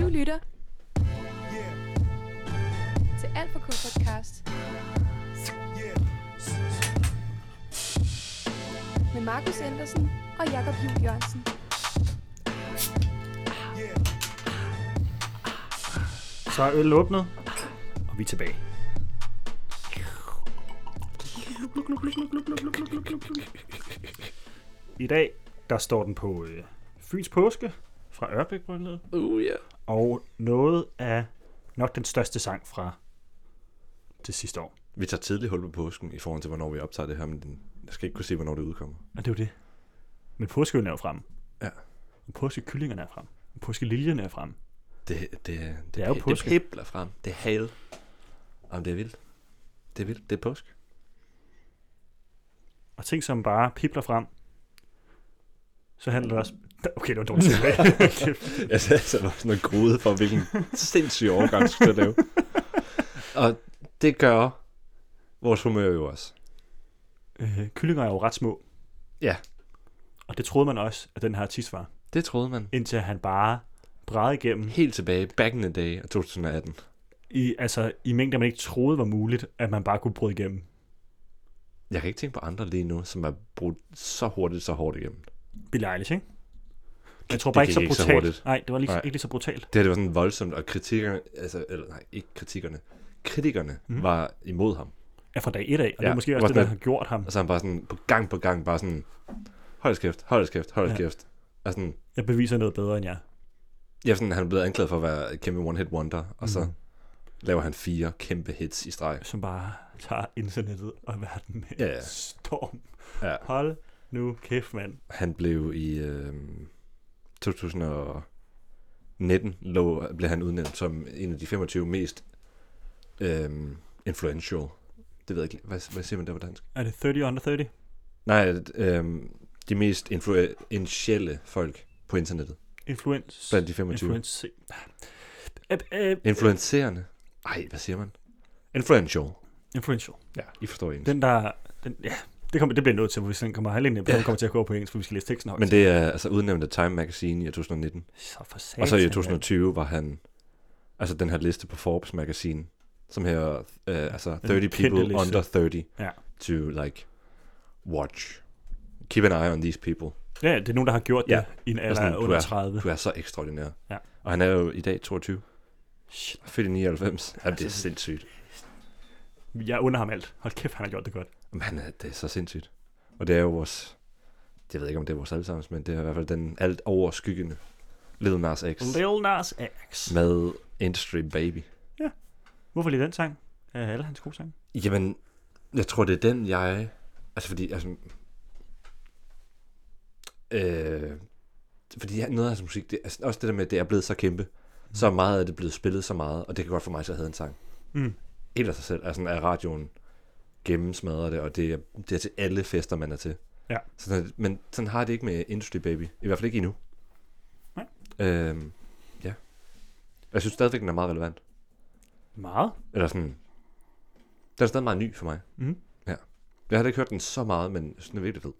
lytter til Alt for K podcast med Markus Andersen og Jakob Juhl Jørgensen. Så er øl åbnet, og vi er tilbage. I dag, der står den på øh, Fyns Påske fra Ørbæk Brylled, Uh, yeah. og noget af nok den største sang fra det sidste år. Vi tager tidligt hul på påsken i forhold til, hvornår vi optager det her, men den- jeg skal ikke kunne se, hvornår det udkommer. Og det er jo det. Men påskeøllen er jo frem. Ja. Og påskekyllingerne er frem. Og påskeliljerne er frem. Det, det, det, er jo det, påske. Det pibler frem. Det er hale. Jamen, det er vildt. Det er vildt. Det er påsk. Og ting, som bare pipler frem, så handler det også... Okay, det var en dårlig tilbage. Jeg sad så var sådan noget grude for, hvilken sindssyg overgang skulle jeg lave. Og det gør vores humør jo også. øh, kyllinger er jo ret små. Ja. Og det troede man også, at den her artist var. Det troede man. Indtil han bare brædede igennem Helt tilbage, back in the day af 2018. i, altså, i mængder, man ikke troede var muligt, at man bare kunne bryde igennem. Jeg kan ikke tænke på andre lige nu, som er brudt så hurtigt, så hårdt igennem. Billie Eilish, ikke? Men Jeg tror Det bare gik ikke så ikke så brutalt. hurtigt. Nej, det var lige, Nej. ikke lige så brutalt. Det her, det var sådan voldsomt, og kritikerne, altså, eller nej, ikke kritikerne, kritikerne mm. var imod ham. Ja, fra dag et af, og ja, det er Ja, måske også var det, der sådan har gjort ham. Og så er han bare sådan, på gang på gang, bare sådan, hold da kæft, hold da kæft, hold da Ja. kæft. Og sådan, Jeg beviser noget bedre end jer. ja, sådan, han er blevet anklaget for at være et kæmpe one-hit wonder, og så laver han fire kæmpe hits i streg. som bare tager internettet og verden med Ja, ja. storm. Ja. Hold nu kæft, mand. Han blev i øh, 2019 lå, blev han udnævnt som en af de 25 mest øh, influential. Det ved jeg ikke. Hvad, hvad siger man der på dansk? Er det 30 under 30? Nej, øh, de mest influentielle folk på internettet. Influence. Blandt de 25. Influence. Æ, æ, Influencerende. Ej, hvad siger man? Influential. influential. Ja, I forstår engelsk. Den der... Den, ja, det, kommer, det bliver jeg nødt til, hvis den kommer halvdelen af ja. kommer til at gå over på engelsk, for vi skal læse teksten højt. Men det er altså udnævnt af Time Magazine i 2019. Så for satan, Og så i mand. 2020 var han, altså den her liste på Forbes Magazine, som her, øh, altså 30 kendte people liste. under 30 Ja. to like watch. Keep an eye on these people. Ja, det er nogen, der har gjort det Ja. i en alder sådan, af du under 30. Du er så ekstraordinær. Ja. Og han er jo i dag 22, Shit, født i 99. Jamen, det er Altså, sindssygt. jeg under ham alt. Hold kæft, han har gjort det godt. Men han er, det er så sindssygt. Og det er jo vores, jeg ved ikke om det er vores allesammens, men det er i hvert fald den alt overskyggende Lil Nas X Lil Nas X. med Industry Baby. Hvorfor lige den sang? Er alle hans gode sange? Jamen, jeg tror, det er den, jeg... Altså, fordi... Altså, øh, fordi jeg- noget af hans musik, det, altså, også det der med, at det er blevet så kæmpe, mm. så meget er det blevet spillet så meget, og det kan godt for mig, at jeg havde en sang. Mm. Helt af sig selv, altså er radioen gennemsmadrer det, og det er, det er til alle fester, man er til. Ja. Sådan, er det- men sådan har jeg det ikke med Industry Baby, i hvert fald ikke endnu. Nej. Øhm, ja. Jeg synes stadigvæk, den er meget relevant. Meget. Eller sådan... Den er stadig meget ny for mig. Mhm. Ja. Jeg har da ikke hørt den så meget, men jeg synes, den er virkelig fed.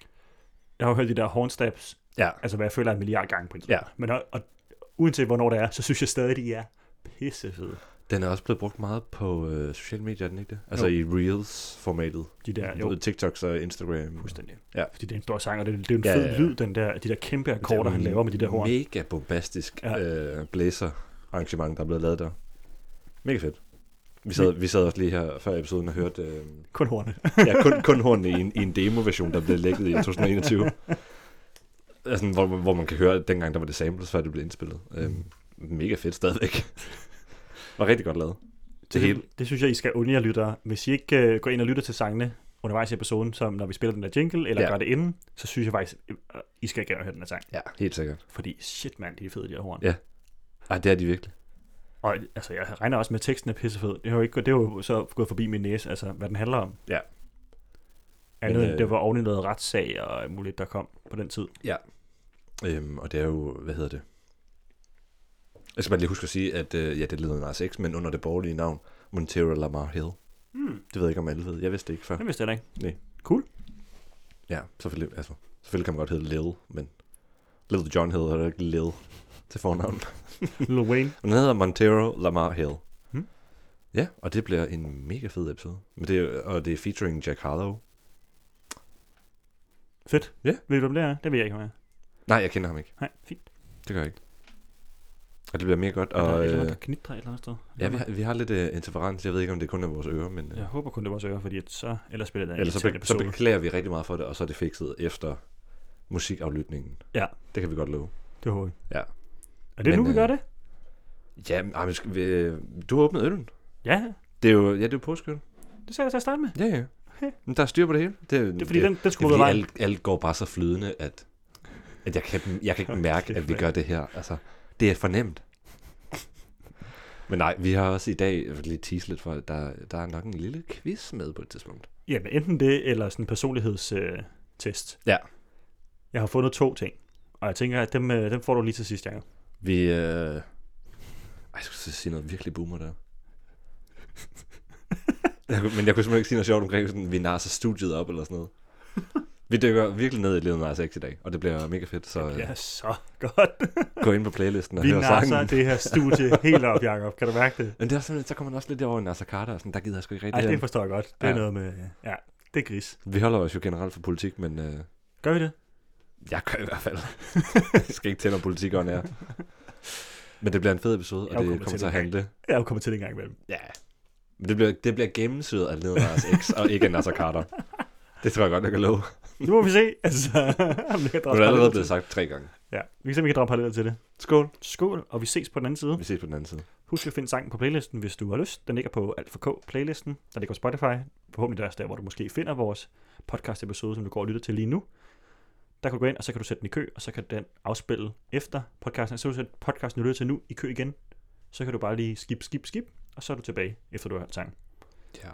Jeg har hørt de der hornstabs Ja. altså hvad jeg føler er en milliard gange på en Ja. Men og, og, uanset hvornår det er, så synes jeg stadig, de er pissefede. Den er også blevet brugt meget på øh, sociale medier, er den ikke det? Altså Jo. i Reels-formatet. De der, Både jo, TikToks og Instagram. fuldstændig. Ja. Fordi det er en stor sang, og det, det er en Ja, fed ja, ja. lyd, den der, de der kæmpe akkorder, han laver med de der horn. Mega bombastisk Ja. ja. øh, blæser-arrangement, der er blevet lavet der. Mega fedt. Vi sad, vi sad også lige her før episoden og hørte øh, Kun hornet. ja, kun, kun hornene i en, i en demo-version, der blev lækket i 2021. Altså, hvor, hvor man kan høre, at dengang der var det samples, før det blev indspillet. Mm. Øhm, mega fedt stadigvæk. var rigtig godt lavet. Det hele. det synes jeg, I skal undre jer lyttere. Hvis I ikke øh, går ind og lytter til sangene undervejs i episoden, som når vi spiller den der jingle, eller ja. Ja. gør det inden, så synes jeg faktisk, øh, I skal gerne høre den her sang. Ja, helt sikkert. Fordi shit mand, de er fede, de her horn. Ja. Ej, det er de virkelig. Og altså, jeg regner også med, at teksten er pissefed. Det har jo, ikke, det har jo så gået forbi min næse, altså hvad den handler om. Ja. Andet Men, Men, øh... øh, det var oven i noget retssag og alt muligt, der kom på den tid. Øhm, og det er jo, hvad hedder det? Jeg skal bare lige huske at sige, at øh, ja, det lyder Nas X, men under det borgerlige navn, Montero Lamar Hill. Hmm. Det ved jeg ikke, om alle ved. Jeg vidste det ikke før. Det vidste jeg da ikke. Ja, selvfølgelig, altså, selvfølgelig kan man godt hedde Lil, men Lil John hedder det ikke Lil. til fornavn. Lil Wayne. Men den hedder Montero Lamar Hill. Hmm. Ja, og det bliver en mega fed episode. Men det er, og det er featuring Jack Harlow. Fedt. Ja. Ved du, hvem det er? Det ved jeg ikke, hvem er. Nej, jeg kender ham ikke. Nej, fint. Det gør jeg ikke. Og det bliver mega godt. Og, der er Og, et eller øh, andet, der knitrer et eller andet sted. ja, vi har, vi har lidt øh, interferens. Jeg ved ikke, om det kun er vores ører, men... Øh, Jeg håber kun, det var så øre, fordi at så... Ellers spiller det en Ellers så, irriterende be- så episode. beklager vi rigtig meget for det, og så er det fikset efter musikaflytningen. Ja. Det kan vi godt love. Det håber jeg. Ja. Er det Men, nu, vi øh, gør det? Ja, men, ej, men skal vi, øh, du har åbnet øllen. Ja, Det er jo, ja, det er jo påskeøl. det skal jeg da til at starte med. Ja, ja. Men der er styr på det hele. Det, Det er fordi, den, den det er, skulle være fordi vejen. alt, alt går bare så flydende, at, at jeg, kan, jeg kan ikke mærke, at vi mand. gør det her. Altså, det er fornemt. Men nej, vi har også i dag, jeg vil lige tease lidt for, at der, der er nok en lille quiz med på et tidspunkt. Ja, men enten det, eller sådan en personlighedstest. Øh, test. Ja. Jeg har fundet to ting, og jeg tænker, at dem, øh, dem får du lige til sidst, Jacob. Vi, øh... Ej, jeg skulle til at sige noget virkelig boomer der. jeg kunne, men jeg kunne simpelthen ikke sige noget sjovt omkring, sådan, vi narser studiet op eller sådan noget. Vi dykker virkelig ned i Lil Nas X i dag, og det bliver mega fedt, så øh, Ja, så godt. gå ind på playlisten og Vi hør nasser sangen. det her studie helt op, Jacob. Kan du mærke det? Men det er også sådan, så kommer man også lidt over i Nasser Carter, og sådan, der gider jeg sgu ikke Ej, rigtig. det hen. forstår jeg godt. Det er Ja. noget med... Ja, det er gris. Vi holder os jo generelt for politik, men øh, Gør vi det? jeg gør i hvert fald. jeg skal ikke tænde, om politik er. Men det bliver en fed episode, og Jeg kommer det til kommer til det. at handle Jeg er jo kommet til det en gang imellem. Ja. Men det bliver, det bliver gennemsyret af Lil Nas X, og ikke af Nasser Carter. Det tror jeg godt, jeg kan love. Nu Nu må vi se. Altså, om det kan er drage det allerede paralleller blevet til. sagt tre gange. Ja, vi kan se, om vi kan drage paralleller til det. Skål. Skål, og vi ses på den anden side. Vi ses på den anden side. Husk at finde sangen på playlisten, hvis du har lyst. Den ligger på Alt for K playlisten. Der ligger på Spotify. Forhåbentlig der er også der, hvor du måske finder vores podcast episode, som du går og lytter til lige nu. Der kan du gå ind, og så kan du sætte den i kø, og så kan den afspille efter podcasten. Så kan du sætte podcasten, du lytter til nu, i kø igen. Så kan du bare lige skip, skip, skip, og så er du tilbage, efter du har hørt sangen. Ja.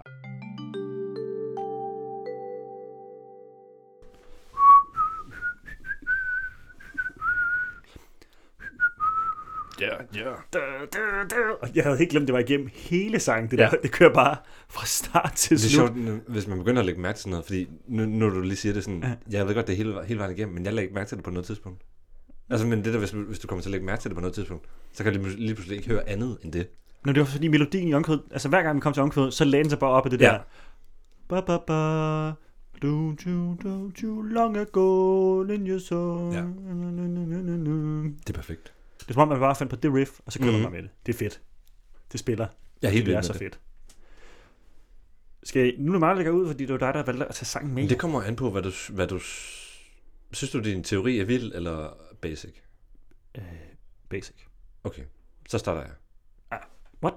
Ja, ja. Da, da, da. Og jeg havde helt glemt, det var igennem hele sangen, det Ja. der. Det kører bare fra start til Det er slut. sjovt, nu- hvis man begynder at lægge mærke til sådan noget, fordi nu, når du lige siger det sådan, jeg ved godt, det er hele, hele vejen igennem, men jeg lægger ikke mærke til det på noget tidspunkt. Altså, men det der, hvis, hvis du kommer til at lægge mærke til det på noget tidspunkt, så kan du lige- lige pludselig ikke høre andet end det. Nå, det var fordi melodien i omkvædet, altså hver gang vi kom til omkvædet, så lagde den sig bare op af det Ja. der. Ba, ba, ba, don't you, don't you long ago in your soul. Ja. Det Det er perfekt. er som om, man bare fandt på det riff, og så kører Mhm. man bare med det. Det er fedt. Det spiller. Jeg er helt det vild er med så det. fedt. Skal jeg, nu er det meget, der lægger ud, fordi det var dig, der valgte at tage sangen med. Men det kommer an på, hvad du, hvad du... s- Synes du, din teori er vild eller basic? Øh, basic. Okay, så starter jeg. Ah, what?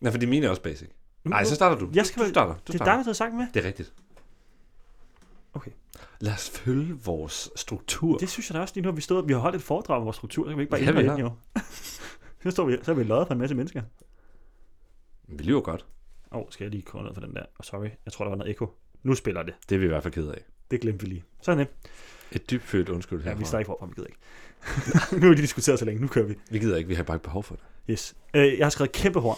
Nej, fordi mine er også basic. Nu- Nej, så starter du. Jeg skal du vel- starter. Du Det er dig, starter. der tager sangen med. Det er rigtigt. Okay. Lad os følge vores struktur. Det synes jeg da også lige nu, at vi stod og vi har holdt et foredrag om vores struktur, så kan vi ikke bare Ja, ændre vi den jo. så, står vi, så er vi løjet for en masse mennesker. Vi lyver godt. Åh, oh, skal jeg lige komme ned for den der? Oh, sorry, jeg tror, der var noget ekko. Nu spiller det. Det er vi i hvert fald ked af. Det glemte vi lige. Sådan det. Et dybfølt undskyld Ja, herfra. vi snakker ikke forfra, vi gider ikke. nu har vi lige diskuteret så længe, nu kører vi. vi gider ikke, vi har bare ikke behov for det. Yes. Øh, jeg har skrevet kæmpe horn,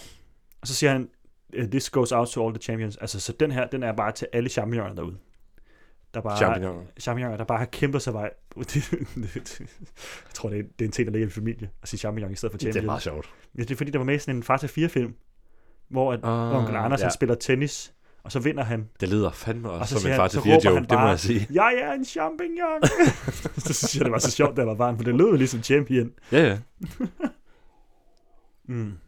og så siger han, øh, this goes out to all the champions. Altså, så den her, den er bare til alle champignoner derude. Der bare, Champignoner. champignoner, der bare har kæmpet sig vej. Det- det- jeg tror, det er, det er en ting, der ligger i familie, at sige champignon i stedet for champion. sjovt. Ja, det er fordi, der var med i sådan en Far til 4-film, hvor at Ah, onkel Anders ja. ja. han spiller tennis, og så vinder han. Det lyder fandme også Og og så som siger en far han- til så fire råber joke, han det må bare- jeg sige. Jeg er en champignon! så synes jeg, det var så sjovt, da jeg var barn, for det lød jo ligesom champion. Ja, ja. Mm.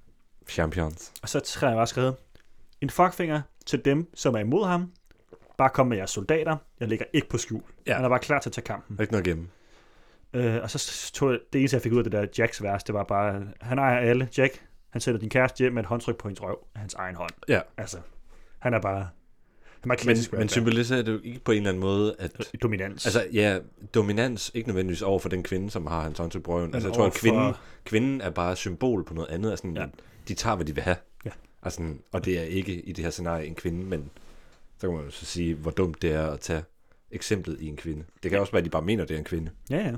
Champions. Og så tror jeg bare skrevet, en fuckfinger til dem, som er imod ham. Bare kom med jeres soldater. Jeg ligger ikke på skjul. Ja. Ja. Han er bare klar til at tage kampen. Der er ikke noget igennem. Øh, og så tog jeg, det eneste, jeg fik ud af det der Jacks vers, det var bare, han ejer alle. Jack, han sætter din kæreste hjem med et håndtryk på hendes røv af hans egen hånd. Ja. Altså, han er bare... Han er Men, klassisk men rapper. symboliserer det jo ikke på en eller anden måde, at... dominans. Altså, ja, dominans ikke nødvendigvis over for den kvinde, som har hans hånd til brøven. Altså, jeg tror, at over kvinden, for- kvinden er bare symbol på noget andet. Altså, Ja. ja. de tager, hvad de vil have. Ja. Altså, og det er ikke i det her scenarie en kvinde, men så kan man jo så sige, hvor dumt det er at tage eksemplet i en kvinde. Det kan også være, at de bare mener, det er en kvinde. ja, ja.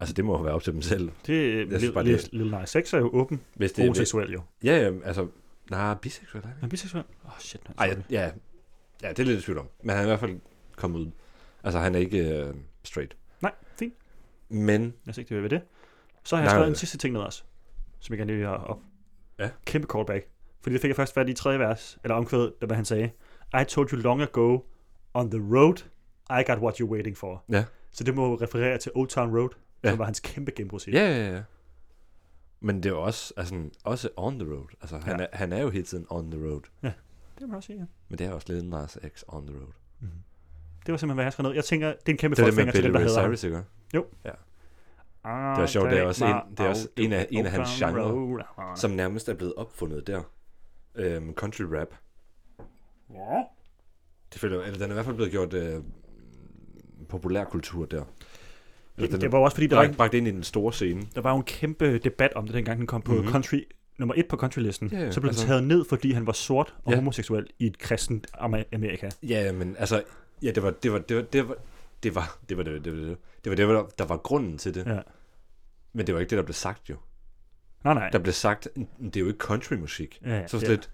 Altså, det må jo være op til dem selv. Det, øh, Jeg synes bare, Lil- Lil- Lil Nas X er jo åben Hvis det, homoseksuel, jo. Ja, ja, altså, nej, biseksuel er han Er han biseksuel? Åh, oh, shit. Man, Ej, jeg- ja, ja, det er lidt i tvivl om. Men han er i hvert fald kommet ud. Altså, han er ikke øh, straight. Nej, fint. Men Lad os ikke det ved det. Så har jeg Nej, skrevet nej. en sidste ting ned også, som jeg gerne lige vil have op. Ja. Kæmpe callback. Fordi det fik jeg først fat i tredje vers, eller omkvædet, der hvad han sagde. I told you long ago, on the road, I got what you're waiting for. Ja. Så det må jo referere til Old Town Road, Ja. som var hans kæmpe gennembrud. Ja, ja, ja. Men det er jo også, altså, også on the road. Altså, han, Ja. ja. er, han er jo hele tiden on the road. Det må man også sige, ja. Men det er også lidt Nas X on the road. Mm-hmm. Det var simpelthen, hvad jeg skrev ned. Jeg tænker, det er en kæmpe Det er det forfinger med til Billy dem, der Ray hedder ham. Cyrus, ikke? Ah, Det var sjovt, det er også var en- det er også out en af- en af hans Old Town genre. Road. Som nærmest er blevet opfundet der. Øhm, country rap. Ja. Det føler, eller den er i hvert fald blevet gjort øh, populærkultur der. Eller Det, den det er var jo også fordi, der var, bragt, bragt ind i den store scene. der var jo en kæmpe debat om det, dengang den kom på mm-hmm. Mhm. country, nummer et på countrylisten. Ja, ja, så blev altså. altså- den taget ned, fordi han var sort og Ja. homoseksuel i et kristent Ama- Amerika. Ja, men altså, ja, det var det var det var det var det var det var det var det var det var det var det var der var grunden til det. Ja. Men det var ikke det der blev sagt jo. Nej, nej. Der blev sagt, "Mm, det er jo ikke countrymusik. Ja, ja, Så ja. sådan lidt,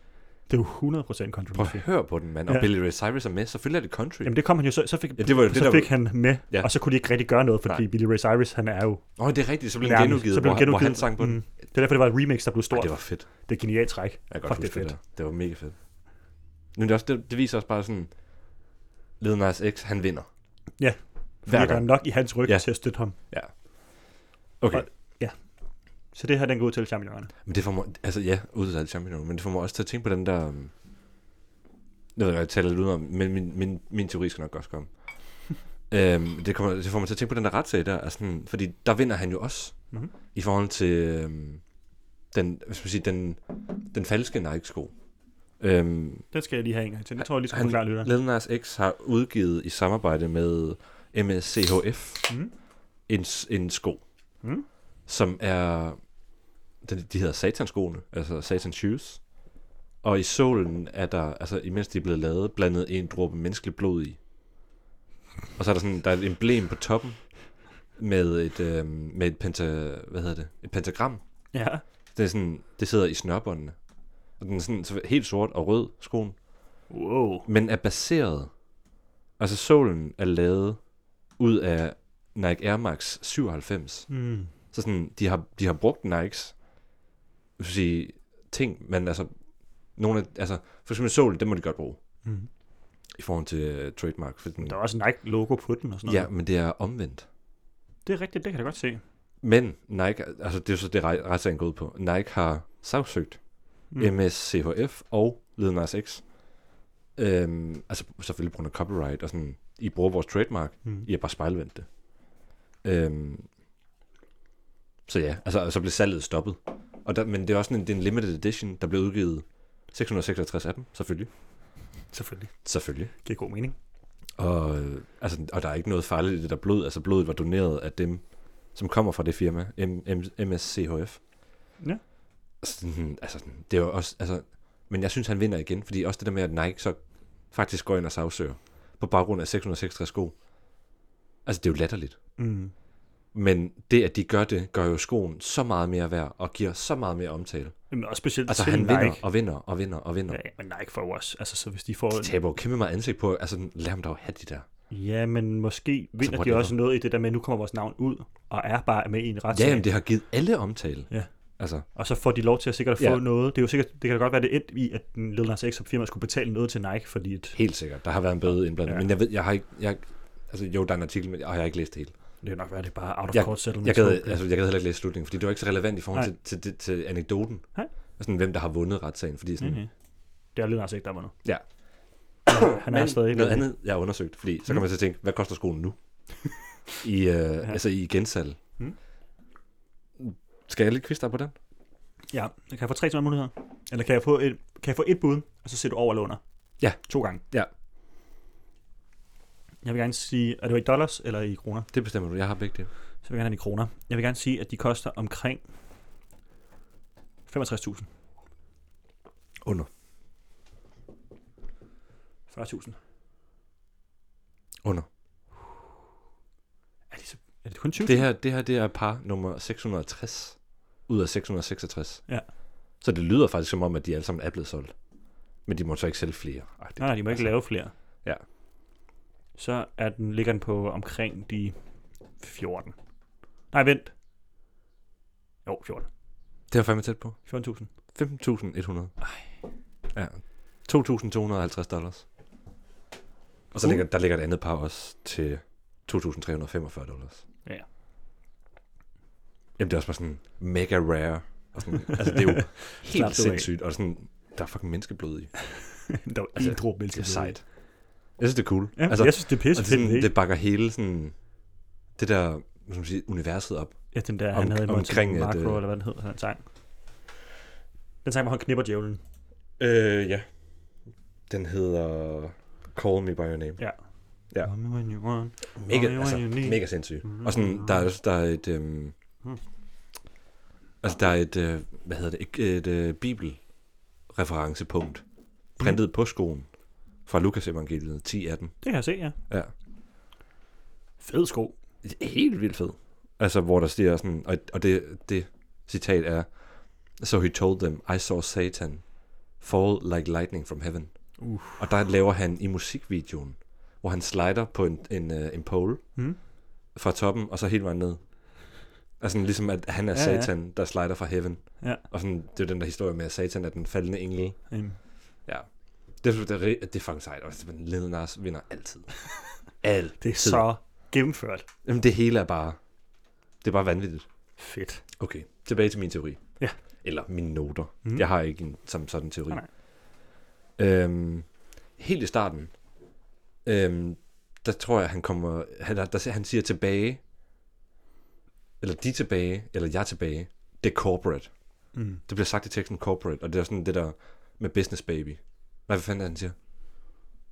Det er jo 100% country. prøv at høre på den mand, og Ja. Billy Ray Cyrus er med, selvfølgelig er det country. Jamen det kom han jo så, så fik, Ja, det var jo det, så der- fik han med, ja. Ja. og så kunne de ikke rigtig gøre noget, fordi nej. Nej. Billy Ray Cyrus, han er jo Åh, det er rigtigt, så blev den nærmest- genudgivet, så blev hvor, han han- hvor han genudgivet. sang på den. Mm. Det er derfor, det var et remix, der blev stort. Ej, det, det var... var fedt. det er et genialt træk. Jeg kan Fuck, godt det er huske det, fedt. der. Det var mega fedt. Men det, er også, det, det viser også bare sådan, Lil Nas X, han vinder. Fordi der er gang. nok i hans ryg ja. Ja. til at støtte ham. Okay. Og- Så det her, den går ud til champignonerne. Men det får mig, altså ja, ud af alt champignon, men det får mig også til at tænke på den der, øhm, jeg ved ikke, jeg taler lidt udenom, men min, min, min teori skal nok også komme. øhm, det, kommer, det får mig til at tænke på den der retssag der, altså, sådan, fordi der vinder han jo også, Mhm. mm-hmm. i forhold til øhm, den, hvad skal man sige, den, den falske Nike-sko. Øhm, Den skal jeg lige have en gang til. Det tror jeg lige skal Han- forklare lytteren. Lil Nas X har udgivet i samarbejde med MSCHF, Mm. en, s- en sko, Mm. som er, de, de hedder satanskoene, altså satans shoes. Og i solen er der, altså imens de er blevet lavet, blandet en dråbe menneskeligt blod i. Og så er der sådan, der er et emblem på toppen med et, øh, med et, penta, hvad hedder det? et pentagram. Ja. Det, er sådan, det sidder i snørbåndene. Og den er sådan så helt sort og rød, skoen Wow. men er baseret, altså solen er lavet ud af Nike Air Max 97. Mm. Så sådan, de har, de har brugt Nikes, jeg skal sige, ting, men altså, nogle af, altså, for eksempel solen, den må de godt bruge Mm. i forhold til uh, trademark. For den, Der er også Nike-logo på den og sådan noget. ja, men det er omvendt. Det er rigtigt, det kan jeg godt se. Men Nike, altså det er jo så det, ret- retssagen går ud på. Nike har sagsøgt mm. MSCHF og Lil Nas X. Øhm, altså selvfølgelig på grund af copyright og sådan, I bruger vores trademark, Mm. I har bare spejlvendt det. Øhm, så ja, altså, og så blev salget stoppet. Og der, men det er også sådan en, det er en limited edition, der blev udgivet 666 af dem, selvfølgelig. Selvfølgelig. Selvfølgelig. Giver god mening. Og, øh, altså, og der er ikke noget farligt i det der blod. Altså blodet var doneret af dem, som kommer fra det firma, M- M- MSCHF. Ja. Sådan, altså, sådan, det er jo også, altså, men jeg synes, han vinder igen, fordi også det der med, at Nike så faktisk går ind og sagsøger på baggrund af 666 sko. Altså, det er jo latterligt. Mm. Men det, at de gør det, gør jo skoen så meget mere værd og giver så meget mere omtale. Jamen, også specielt Altså, til han Nike. vinder og vinder og vinder og vinder. Ja, ja, men Nike får jo også, altså så hvis de får... De taber jo kæmpe meget ansigt på, altså lad dem dog have de der. Ja, men måske vinder de whatever. også noget i det der med, at nu kommer vores navn ud, og er bare med i en Ja, retssag. jamen, det har givet alle omtale. Ja. Altså, Og så får de lov til at sikkert at få Ja. noget. Det, er jo sikkert, det kan da godt være, det endte i, at den Lil Nas X som firma skulle betale noget til Nike, fordi et, helt sikkert. Der har været en bøde indblandet. Ja. Ja. Men jeg ved, jeg har ikke... Jeg, altså, jo, der er en artikel, men jeg, og jeg har ikke læst det hele. det kan nok være, det er bare out of Jeg- court settlement. Jeg gad, altså, jeg gad heller ikke læse slutningen, fordi det var ikke så relevant i forhold Nej. til, til, til, til anekdoten. Nej. Og sådan, hvem der har vundet retssagen. Fordi sådan, mm-hmm. Det er Lil Nas X, der var noget. Ja. Han er Men stadig noget andet, jeg har undersøgt, fordi så Mm. kan man så tænke, hvad koster skolen nu? I, øh, ja. Altså i gensalg. Mm. Skal jeg lige quizte dig på den? Ja, kan jeg få tre til muligheder? Eller kan jeg få et, kan jeg få et bud, og så ser du over eller under? Ja. To gange? Ja. Jeg vil gerne sige, er det i dollars eller i kroner? Det bestemmer du, jeg har begge det. Så vil jeg gerne have den i kroner. Jeg vil gerne sige, at de koster omkring 65.000. Under. 40.000. Under. Er det, så, er det kun 20? Det her, det her det er par nummer 660 ud af 666. Ja. Så det lyder faktisk som om, at de alle sammen er blevet solgt. Men de må så ikke sælge flere. Ej, det, Nej, nej, de må ikke altså- lave flere. Ja. Så er den, ligger den på omkring de 14. Nej, vent. Jo, 14. Det var fandme tæt på. 14.000. 15.100. Ja. 2.250 dollars. Og så Uh. ligger, der ligger et andet par også til 2.345 dollars. Ja. Jamen, det er også bare sådan mega rare. Og sådan, altså, det er jo Slap helt du af. sindssygt. Og sådan, der er fucking menneskeblod i. Der var Altså, altså, en dråbe Det er menneske. sejt. Jeg synes, det er cool. Ja, altså, jeg synes, det er og pisse det, er fedt. sådan, Det, det bakker hele sådan, det der hvad skal man sige, universet op. ja, den der, om- han havde omkring, omkring at, Marco, øh, eller hvad den hed, han sang. Den sang, hvor han knipper djævlen. Øh, ja. Den hedder Call Me By Your Name. Ja. Ja. Come when you want. Mega, Call me altså, when you need. mega sindssyg. Mhm. Og sådan, der er, også- der er et... Øhm, Mm. altså, der er et, øh, hvad hedder det, et, et øh, bibelreferencepunkt, printet på skoen fra Lukas evangeliet 10.18. Det kan jeg se, ja. Ja. Fed sko. Helt vildt fed. Altså, hvor der stiger sådan, og, og det, det citat er, So he told them, I saw Satan fall like lightning from heaven. Uh. Og der laver han i musikvideoen, hvor han slider på en, en, øh, en pole Mm. fra toppen, og så hele vejen ned. Altså sådan ligesom, at han er Ja, ja. satan, der slider fra heaven. Ja. Og sådan, det er jo den der historie med, at satan er den faldende engel. Um, Ja. Det, er- det, er, ri- det er fucking sejt. Og Lil Nas vinder altid. altid. det er så gennemført. Jamen, det hele er bare... Det er bare vanvittigt. Fedt. Okay, tilbage til min teori. Ja. Eller mine noter. Mhm. Mm. Jeg har ikke en som sådan teori. Nej, Øhm, helt i starten, øhm, der tror jeg, han kommer... Han, der, der, han siger tilbage, eller de tilbage, eller jeg tilbage. Det er corporate. Mm. Det bliver sagt i teksten corporate, og det er sådan det der med business baby. Nej, hvad fanden er det, han siger?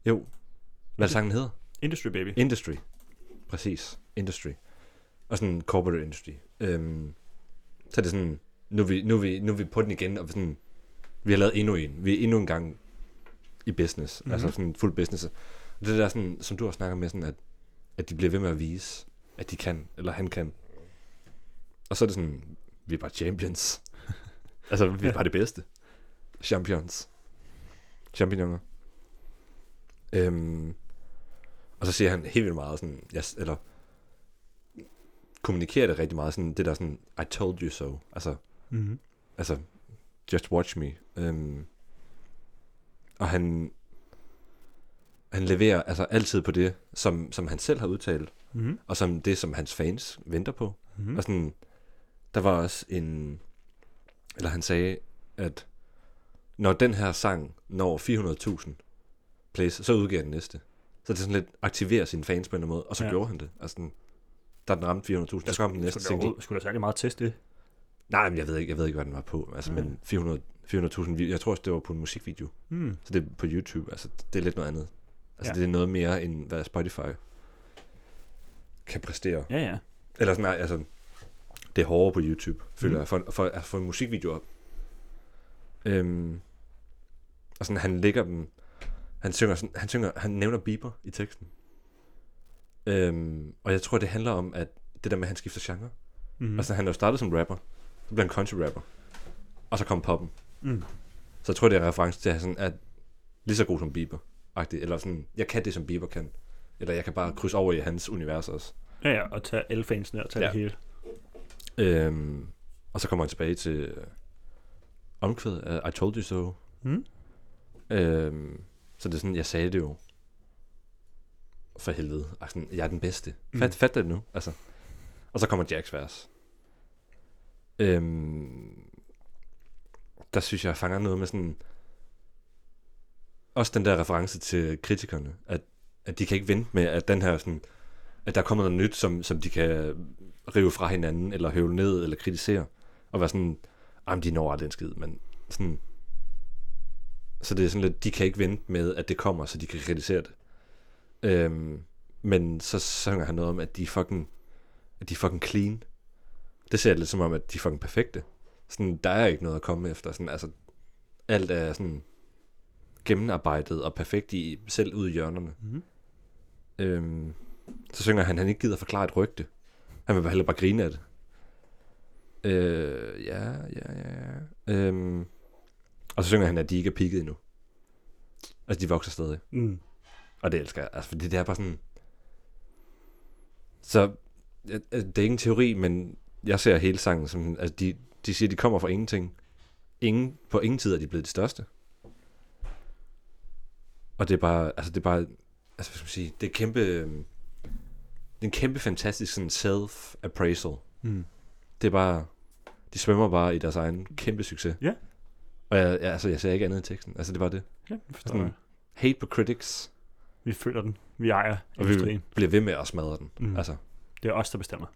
Jo, hvad er det, sangen hedder? Industry Baby. Industry. Præcis. Industry. Og sådan corporate industry. Øhm, så er det sådan, nu er, vi, nu, er vi, nu er vi på den igen, og vi sådan, vi har lavet endnu en. Vi er endnu en gang i business. Mm-hmm. Altså Mhm. sådan fuld business. Og det der sådan, som du har snakket med, sådan at, at de bliver ved med at vise, at de kan, eller han kan. Og så er det sådan, vi er bare champions. altså, vi er bare det bedste. Champions. Champignoner. Øhm, og så siger han helt vildt meget sådan, jeg, s- eller kommunikerer det rigtig meget, sådan det der sådan, I told you so, altså, Mm. altså, just watch me. Øhm, og han, han leverer altså altid på det, som, som han selv har udtalt, Mm. og som det, som hans fans venter på. Mm. Og sådan, der var også en, eller han sagde, at når den her sang når 400.000 plays, så udgiver jeg den næste. Så det er sådan lidt aktiverer sine fans på en eller anden måde, og så Ja. ja. gjorde han det. Altså, sådan, da den ramte 400.000, så kom den næste Skulle der, single. overhovedet- skulle der særlig meget teste det? Nej, men jeg ved ikke, jeg ved ikke hvad den var på. Altså, Nej. men 400 400.000, vi- jeg tror også, det var på en musikvideo. Mm. Så det er på YouTube, altså det er lidt noget andet. Altså Ja. ja. det er noget mere, end hvad Spotify kan præstere. Ja, ja. Eller sådan, nej, altså, det er hårdere på YouTube, føler Mm. mm. jeg, for, for at få en musikvideo op. Øhm, og sådan, han lægger dem, han synger, sådan, han synger, han nævner Bieber i teksten. Øhm, og jeg tror, det handler om, at det der med, at han skifter genre. Mm. Mm. Altså, han er jo startet som rapper, så blev han country rapper, og så kom poppen. Mm. Så jeg tror, det er en reference til, at han sådan er lige så god som Bieber. -agtig. Eller sådan, jeg kan det, som Bieber kan. Eller jeg kan bare krydse over i hans univers også. Ja, ja, og tage alle fansene og tage ja. Ja. det hele. Øhm, og så kommer han tilbage til øh, omkvædet af I Told You So. Mm. Øhm, så det er sådan, jeg sagde det jo. For helvede. Og sådan, jeg er den bedste. Fat, Mm. mm. fat det nu. Altså. Og så kommer Jacks vers. Øhm, der synes jeg, jeg fanger noget med sådan... Også den der reference til kritikerne. At, at de kan ikke vente med, at den her sådan... At der kommer noget nyt, som, som de kan rive fra hinanden, eller høvle ned, eller kritisere. Og være sådan, jamen de når aldrig en skid, men sådan... Så det er sådan lidt, de kan ikke vente med, at det kommer, så de kan kritisere det. Øhm, men så synger han noget om, at de er fucking, at de er fucking clean. Det ser jeg lidt som om, at de er fucking perfekte. Sådan, der er ikke noget at komme efter. Sådan, altså, alt er sådan gennemarbejdet og perfekt i, selv ude i hjørnerne. Mhm. Øhm, så synger han, han ikke gider forklare et rygte. Han vil bare hellere bare grine af det. Øh, ja, ja, ja, ja. Øhm, og så synger han, at de ikke er pigget endnu. Altså, de vokser stadig. Mm. Og det elsker jeg. Altså, fordi det er bare sådan... Så øh, øh, det er ikke en teori, men jeg ser hele sangen som, altså de, de siger, de kommer fra ingenting. Ingen, på ingen tid er de blevet de største. Og det er bare, altså det er bare, altså hvad skal man sige, det er kæmpe, øhm, det er en kæmpe fantastisk sådan self-appraisal. Mm. Det er bare, de svømmer bare i deres egen kæmpe succes. Ja. Og jeg, jeg, altså, jeg ser ikke andet i teksten. Altså, det var det. Ja, det forstår Sådan- jeg. Hate på critics, Vi føler den. Vi ejer og vi industrien. bliver ved med at smadre den. Mm. Mm. Altså, Det er os, der bestemmer.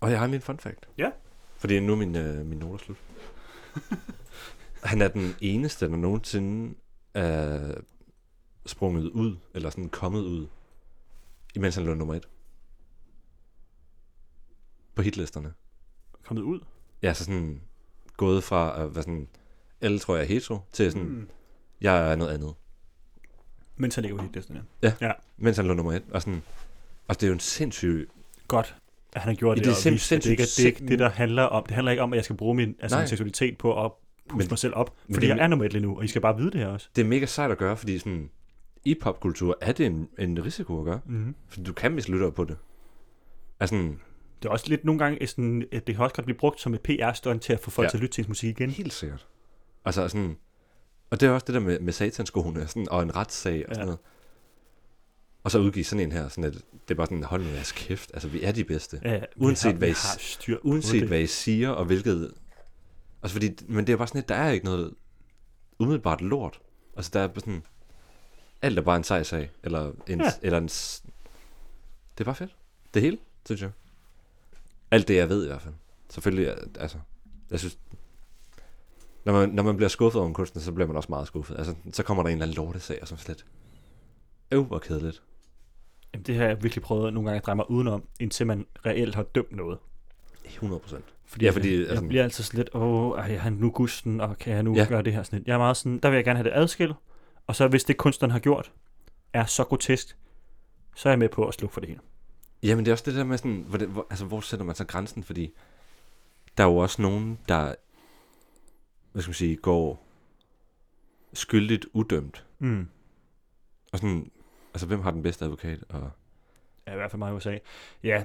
Og jeg har min fun fact. Ja. Fordi nu er min, øh, min noter slut. Han er den eneste, der nogensinde er sprunget ud, eller sådan kommet ud, imens han lå nummer et. På hitlisterne. Kommet ud. Jeg er så sådan gået fra at være sådan, alle tror jeg er hetero, til sådan, mm. Mm. jeg er noget andet. Mens han ligger på hitlisten, ja. Mens han lå nummer et. Og sådan, og det er jo en sindssyg... Godt, at han har gjort Ja, det. det er og sindssygt- vist, at det, ikke, er- det er ikke det, sindssygt- der handler om. Det handler ikke om, at jeg skal bruge min altså, Nej. min seksualitet på at puste Men- mig selv op. men Fordi det- jeg er nummer et lige nu, og I skal bare vide det her også. Det er mega sejt at gøre, fordi sådan, i popkultur er det en, en risiko at gøre. Mm. Fordi du kan miste lyttere på det. Altså, sådan, Det er også lidt nogle gange, et sådan, at det kan også godt blive brugt som et PR-stunt til at få folk ja. Ja. til at lytte til ens musik igen. helt sikkert. Altså, sådan, og det er også det der med, med satanskoene sådan, og en retssag og sådan Ja. ja. noget. Og så udgive sådan en her, sådan at det er bare sådan, hold nu jeres kæft, altså vi er de bedste. Ja. Ja, vi Uanset har, hvad Øh, vi I- har styr på Uanset det. hvad I siger og hvilket... Altså fordi, men det er bare sådan, at der er ikke noget umiddelbart lort. Altså der er bare sådan, alt er bare en sej sag, eller en, Ja. ja. eller en s- det er bare fedt. Det hele, synes jeg. Alt det, jeg ved i hvert fald. Selvfølgelig, altså, jeg synes, når man, når man bliver skuffet over en kunstner, så bliver man også meget skuffet. Altså, så kommer der en eller anden lortesag, og så er man slet, øv, hvor kedeligt. Jamen, det har jeg virkelig prøvet nogle gange at dreje mig udenom, indtil man reelt har dømt noget. 100 procent. Fordi, Ja, fordi, jeg, altså- jeg bliver altid sådan lidt, åh, ej, har han nu gusten, og kan jeg nu ja. Ja. gøre det her? Sådan lidt. Jeg er meget sådan, der vil jeg gerne have det adskilt, og så hvis det kunstneren har gjort, er så grotesk, så er jeg med på at slukke for det hele. Jamen, det er også det der med sådan, hvor, det, hvor, altså, hvor sætter man så grænsen? Fordi der er jo også nogen, der, hvad skal man sige, går skyldigt udømt. Mm. Og sådan, altså, hvem har den bedste advokat? Og, Ja, i hvert fald mig i USA. Ja,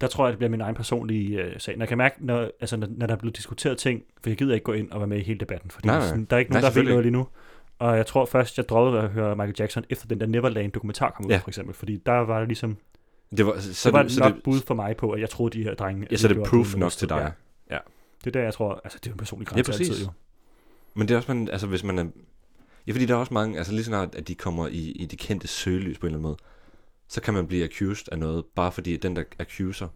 der tror jeg, det bliver min egen personlige øh, sag. Når jeg kan mærke, når, altså, når, når der er blevet diskuteret ting, for jeg gider ikke gå ind og være med i hele debatten, for Nej, nej. sådan, der er ikke Nej, nogen, der ved selvfølgelig noget lige nu. Og jeg tror først, jeg droppede at høre Michael Jackson, efter den der Neverland-dokumentar kom ud, ja. Ja. for eksempel. Fordi der var det ligesom, det var, altså, så, så det var så nok det, bud for mig på, at jeg troede, de her drenge... Ja, så det var er blevet proof nok noget til sted. Ja. dig. Det er der, jeg tror, altså det er jo en personlig grænse præcis. altid jo. Men det er også, man, altså hvis man er... Ja, fordi der er også mange, altså lige snart, at de kommer i, i det kendte søgelys på en eller anden måde, så kan man blive accused af noget, bare fordi den, der accuser,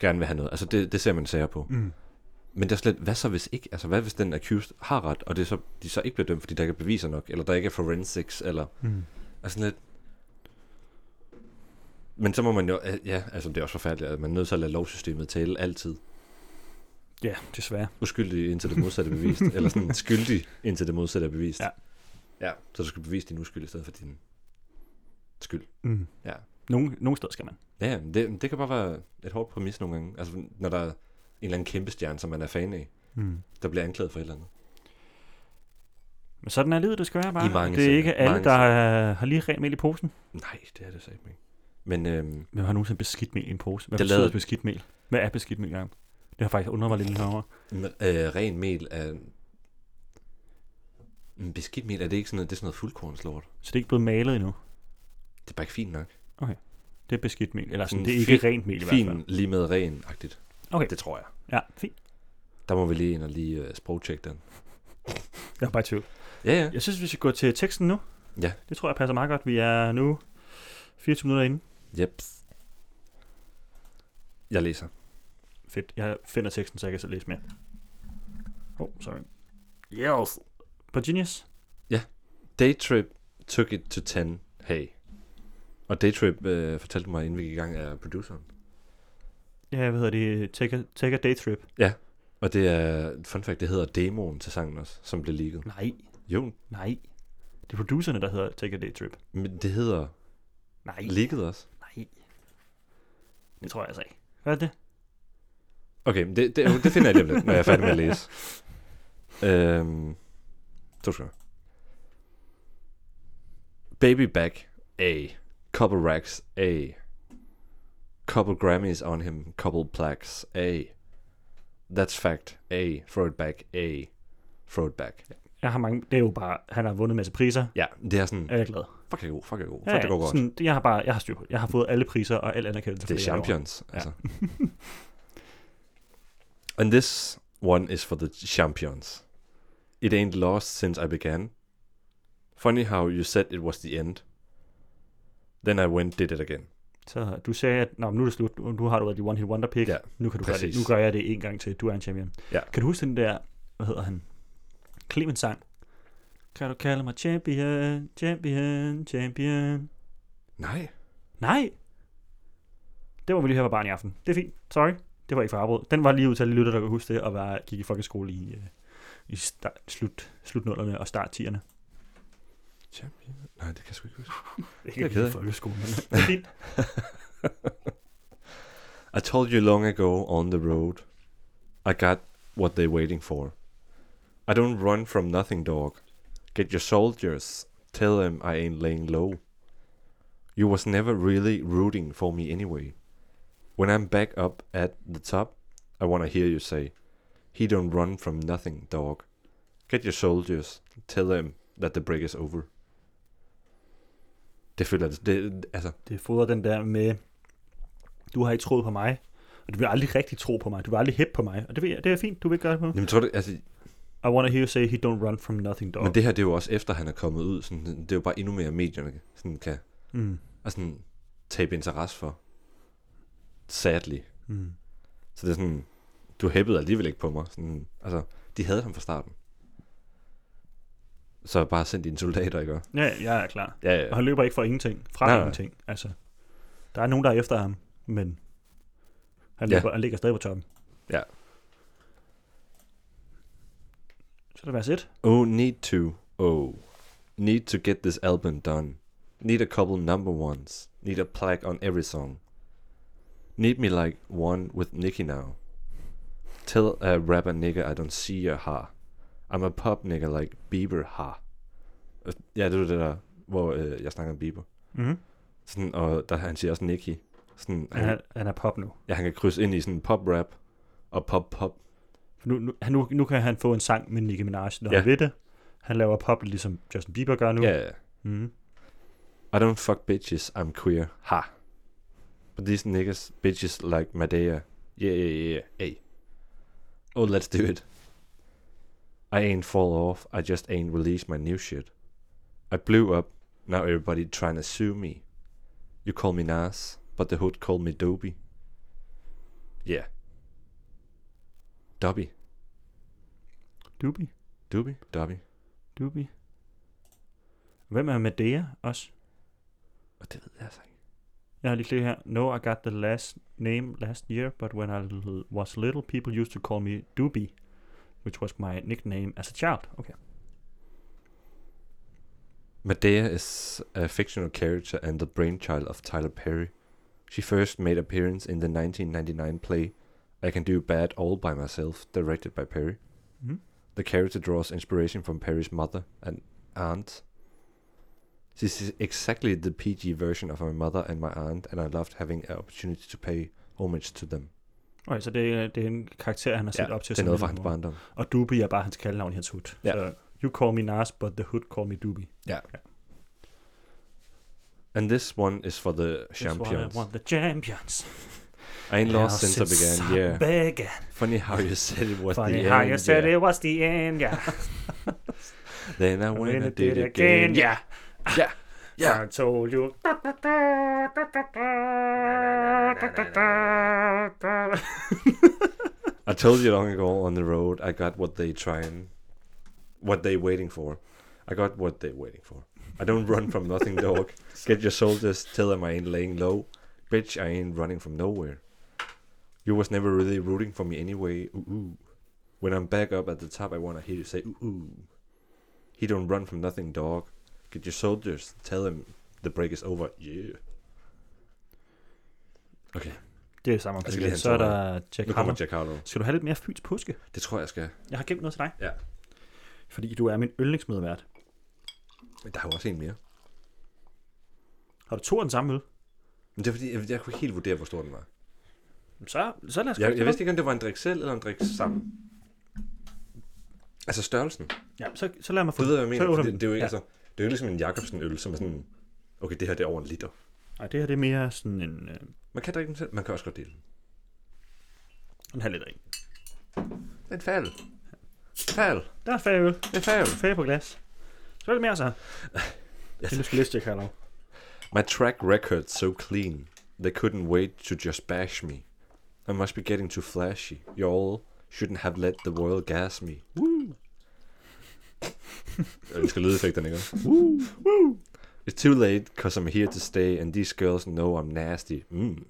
gerne vil have noget. Altså det, det ser man sager på. Mm. Men der er slet, hvad så hvis ikke? Altså hvad hvis den accused har ret, og det er så, de så ikke bliver dømt, fordi der ikke er beviser nok, eller der ikke er forensics, eller Mm. altså sådan lidt... Men så må man jo, ja, altså det er også forfærdeligt, at man er nødt til at lade lovsystemet tale altid. Ja, desværre. uskyldig indtil det modsatte er bevist, eller sådan skyldig indtil det modsatte er bevist. Ja. ja. Så du skal bevise din uskyld i stedet for din skyld. Mm. Ja. Nogle, nogle steder skal man. Ja, ja, men det, det kan bare være et hårdt præmis nogle gange. Altså, når der er en eller anden kæmpe stjerne, som man er fan af, Mm. der bliver anklaget for et eller andet. Men sådan er livet, det skal være bare. I mange det er sager. ikke alle, Mange der øh, har lige rent mel i posen. Nej, det er det sagt ikke. Men øhm, Hvem har nogensinde beskidt mel i en pose? Hvad Det betyder lavede- beskidt mel? Hvad er beskidt mel gang? Det har faktisk undret mig lidt over. men, øh, ren mel er... Men Beskidt mel, er det ikke sådan noget, det er sådan noget fuldkornslort? Så det er ikke blevet malet endnu. Det er bare ikke fint nok. Det er beskidt mel. Eller sådan, Sådan det er ikke fin- rent mel i hvert fald. Mm, Fint, lige med ren-agtigt. Okay. Det tror jeg. Ja, fint. Der må vi lige ind og lige øh, sprogtjekke den. Jeg er bare i tvivl. Ja, ja. Jeg synes, vi skal gå til teksten nu. Ja. Det tror jeg passer meget godt. Vi er nu 24 minutter inde. Yep. Jeg læser. Fedt. Jeg finder teksten, så jeg kan så læse mere. Oh, sorry. Yes. På Genius? Daytrip took it to 10. Hey. Og Daytrip øh, fortalte mig, inden vi gik i gang, er produceren. Ja, hvad hedder det? Take a, take a day trip. Og det er, fun fact, det hedder demoen til sangen også, som blev leaget. Nej, Jo, nej. Det er producerne, der hedder Take a Day Trip. men det hedder Nej, leaget også. nej. Det tror jeg altså ikke. Hvad er det? Okay, men det, det, det finder jeg lige om lidt, når jeg er færdig med at læse. Øhm, to sekunder. Baby back A. Couple racks A. couple Grammys on him, couple plaques. A. That's fact. A. Throw it back. A. Throw it back. Jeg har mange, det er jo bare, han har vundet en masse priser. Ja, det er sådan, Jeg er glad. fuck er god, fuck er god, fuck det går godt. sådan, det- jeg har bare, jeg har styr på det. Jeg har fået alle priser og alt anerkendelse. Det er for jeg laver. champions, Ja. altså. And this one is for the champions. It ain't lost since I began. Funny how you said it was the end. Then I went, did it again. Så du sagde, at Nå, men nu er det slut. Nu nu har du været de one hit wonder pick. Ja, nu, kan du gøre det. præcis. nu gør jeg det en gang til. Du er en champion. Ja. Kan du huske den der, hvad hedder han? Clemens sang. Kan du kalde mig champion, champion, champion? Nej. Nej! Det var vi lige her på barn i aften. Det er fint. Sorry. Det var ikke for afbrud. Den var lige ud til alle lytter, der kan huske det, og var, gik i folkeskole i, øh, i start, slut, slutnullerne og starttierne. Champion? Nej, det kan jeg sgu ikke huske. Det er kan kedeligt. i folkeskolen. men Det er fint. I told you long ago on the road. I got what they're waiting for. I don't run from nothing, dog. Get your soldiers. Tell them I ain't laying low. You was never really rooting for me anyway. When I'm back up at the top, I wanna hear you say, He don't run from nothing, dog. Get your soldiers. Tell them that the break is over. Det føler jeg, det, altså, Det fodrer den der med, du har ikke troet på mig, og du vil aldrig rigtig tro på mig. Du vil aldrig hæppe på mig, og det, ved jeg, det er fint, du vil ikke gøre det på. jamen, tror du, altså, I wanna hear you say, he don't run from nothing, dog. Men det her, det er jo også efter, han er kommet ud. Sådan, det er jo bare endnu mere, medierne sådan kan Mm. og sådan, tabe interesse for. Sadly. Mm. Så det er sådan, du hæppede alligevel ikke på mig. Sådan, altså, de havde ham fra starten. Så bare send dine soldater, ikke? også? Ja, jeg er klar. Ja, ja. Og han løber ikke fra ingenting, fra Nej, nej, nej. ingenting. Altså, der er nogen, der er efter ham, men han, Ja. løber, han ligger stadig på toppen. Ja. Så er det vers 1. Oh, need to. Oh, need to get this album done. Need a couple number ones. Need a plaque on every song. Need me like one with Nicki now. Tell a rapper nigga I don't see your ha. I'm a pop nigga like Bieber ha. Øh, Ja, det var det der, hvor øh, jeg snakker om Bieber. Mm-hmm. Sådan, og der, han siger også Nicki. Sådan, han, Han, han, er pop nu. ja, han kan krydse ind i sådan pop-rap og pop-pop. Nu, nu, han- nu, nu kan han få en sang med Nicki Minaj, når Ja. han ved det. Han laver pop, ligesom Justin Bieber gør nu. Ja, ja, ja. Mm. I don't fuck bitches, I'm queer. Ha. But these niggas, bitches like Madea. Yeah, yeah, yeah, hey. Oh, let's do it. I ain't fall off, I just ain't release my new shit. I blew up, now everybody trying to sue me. You call me Nas, but the hood call me Dobie. Yeah. Dobby, Doobie. Dobby, Dobby. Doobie. Hvem er Medea også? Og det ved jeg altså ikke. Jeg har lige klikket her. No, I got the last name last year, but when I l- was little, people used to call me Doobie, which was my nickname as a child. Oh, Okay. Medea is a fictional character and the brainchild of Tyler Perry. She first made appearance in the 1999 play I Can Do Bad All By Myself, directed by Perry. Mm. The character draws inspiration from Perry's mother and aunt. This is exactly the PG version of my mother and my aunt, and I loved having an opportunity to pay homage to them. Okay, så det, er- det er en karakter, han har set op til. det er som noget fra lille hans mor. barndom. Og Doobie er bare hans kaldenavn i hans hood. Ja. Så, you call me Nas, but the hood call me Doobie. And this one is for the That's why champions. I want the champions. I ain't lost Yeah, since I began, yeah. began. Funny how you said it was Funny the how end, you said yeah. it was the end, yeah. Then I When went I and did it again, again, yeah. yeah. Yeah. Yeah. I told you. I told you long ago on the road, I got what they trying, what they waiting for. I got what they waiting for. I don't run from nothing, dog. Get your soldiers, tell them I ain't laying low. Bitch, I ain't running from nowhere. You was never really rooting for me anyway. Ooh, ooh. When I'm back up at the top, I want to hear you say, ooh, ooh. He don't run from nothing, dog. Get your soldiers, tell him the break is over. Yeah. Okay, Det er samme Jeg skal lige omkring. have Så er en tår der Jack nu kommer Hammer. Giancarlo. Skal du have lidt mere fyns påske? Det tror jeg skal. Jeg har gemt noget til dig. Ja. Fordi du er min yndlingsmedvært. Men der er jo også en mere. Har du to af den samme øl? Men det er fordi, jeg, jeg kunne ikke helt vurdere, hvor stor den var. Så, så lad os Jeg, jeg vidste ikke, om det var en drik selv eller en drik sammen. Altså størrelsen. Ja, så, så lad mig få Du ved, hvad jeg så mener. for åbner Det, den. det, er jo ikke, ja. altså, det er jo ikke ligesom en Jacobsen-øl, som er sådan... Okay, det her det er over en liter. Nej, det her det er mere sådan en, øh, Man kan drikke den selv. Man kan også godt dele den. en halv liter i. En fal. Fal. Der er færre øl. En fal. Færre på glas. Så er det mere så. Det du skal liste, jeg kalder. My track record so clean. They couldn't wait to just bash me. I must be getting too flashy. Y'all shouldn't have let the world gas me. Woo! Jeg elsker lydeffekterne, ikke? også? Woo! Woo! It's too late, cause I'm here to stay, and these girls know I'm nasty. Mm.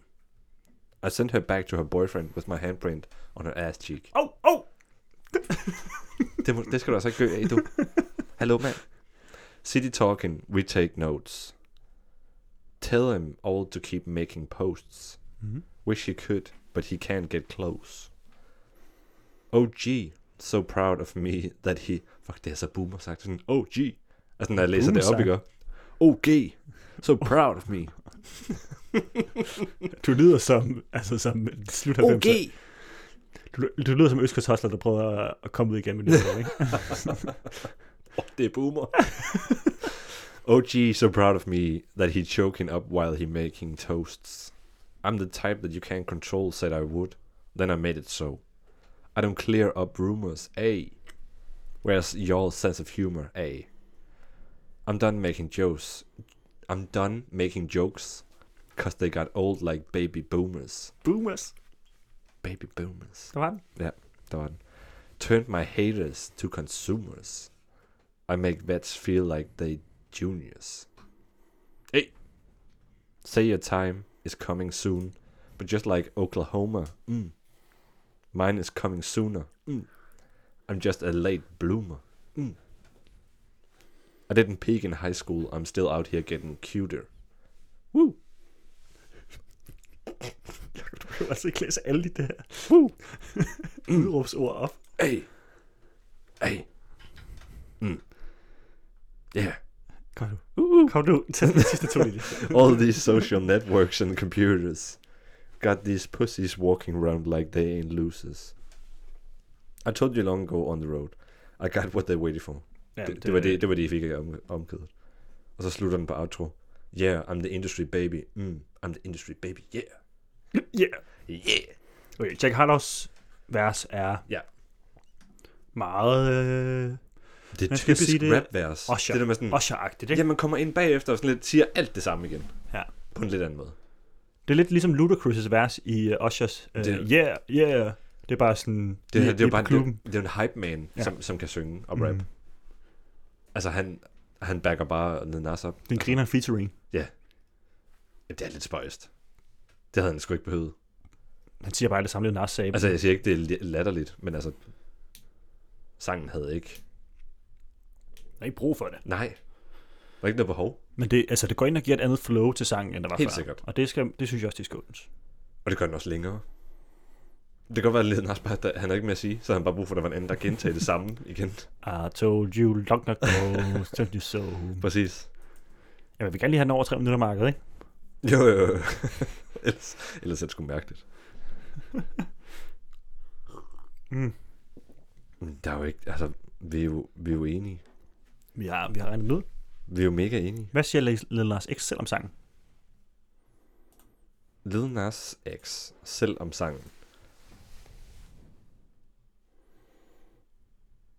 I sent her back to her boyfriend with my handprint on her ass cheek. Åh, oh, åh! Oh! Det, må, det skal du altså ikke gøre af, du. Hallo, mand. City talking, we take notes. Tell him all to keep making posts. Mhm. Wish he could, but he can't get close. OG, so proud of me that he... Fuck, det er så boomer sagt. Sådan, OG. Altså, når jeg læser det op, Boomer-sagt. ikke? OG, Oh, so proud of me. Du lyder som, altså som slut 90'er. OG. Du, du lyder som Øskers Hosler, der prøver at, at komme ud igennem det. ikke? Oh, det er boomer. OG, so proud of me that he choking up while he making toasts. I'm the type that you can't control, said I would. Then I made it so. I don't clear up rumors, eh? Where's y'all sense of humor, eh? I'm done making jokes. I'm done making jokes, 'cause they got old like baby boomers. Boomers. Baby boomers. Der var den. Der var den. Turned my haters to consumers. I make vets feel like they juniors. Hey! Say your time is coming soon, but just like Oklahoma, mm, mine is coming sooner. Mm. I'm just a late bloomer. Mm. I didn't peak in high school, I'm still out here getting cuter. Woo! Du kan altså ikke læse alle de der Woo! udråbsord op. Hey! Hey! Mm. Yeah. Kom nu. Woo! Kom nu. Tag de sidste to linjer. all these social networks and computers got these pussies walking around like they ain't losers. I told you long ago on the road. I got what they waited for. Ja, det, det, var det, det var det, I fik af om, omkædet. Og så slutter den på outro. Yeah, I'm the industry baby. Mm, I'm the industry baby. Yeah. Yeah. Yeah. Okay, Jack Harlows vers er Ja. meget Det øh, er Man skal typisk sige det- rap-vers. Usher. Det der med sådan, Usher-agtigt. Ikke? Mm. ja, man kommer ind bagefter og sådan lidt, siger alt det samme igen. Ja. På en lidt anden måde. Det er lidt ligesom Ludacris' vers i uh, Ushers uh, Det- Yeah, yeah. Det er bare sådan... Det, lige- her, det er jo lige på bare klubben. det, det er jo en hype man, Ja. ja. som, som kan synge og rap. Mm. Mm. Altså han, han backer bare Lil Nas op. Den griner featuring. Jamen, det er lidt spøjst. Det havde han sgu ikke behøvet. Han siger bare det samme, det Nas sagde. Altså jeg siger ikke, det er li- latterligt, men altså, sangen havde ikke... der er ikke brug for det. Nej, der var ikke noget behov. Men det, altså, det går ind og giver et andet flow til sangen, end der var Helt før. sikkert. Og det, skal, det synes jeg også, de skal åbnes. Og det gør den også længere. Det kan godt være, at Lil Nas bare, der, han er ikke med at sige, så har han bare brug for, at der var en anden, der gentagde det samme igen. I told you long ago, told you so. Præcis. Jamen, vi kan lige have den over 3 minutter markedet, ikke? Jo, jo, jo. ellers, ellers er det sgu mærkeligt. Mm. Men Der er jo ikke, altså, vi er jo, vi er jo enige. Vi har, vi har regnet den ud. Vi er jo mega enige. Hvad siger Lil Nas X selv om sangen? Lil Nas X, selv om sangen.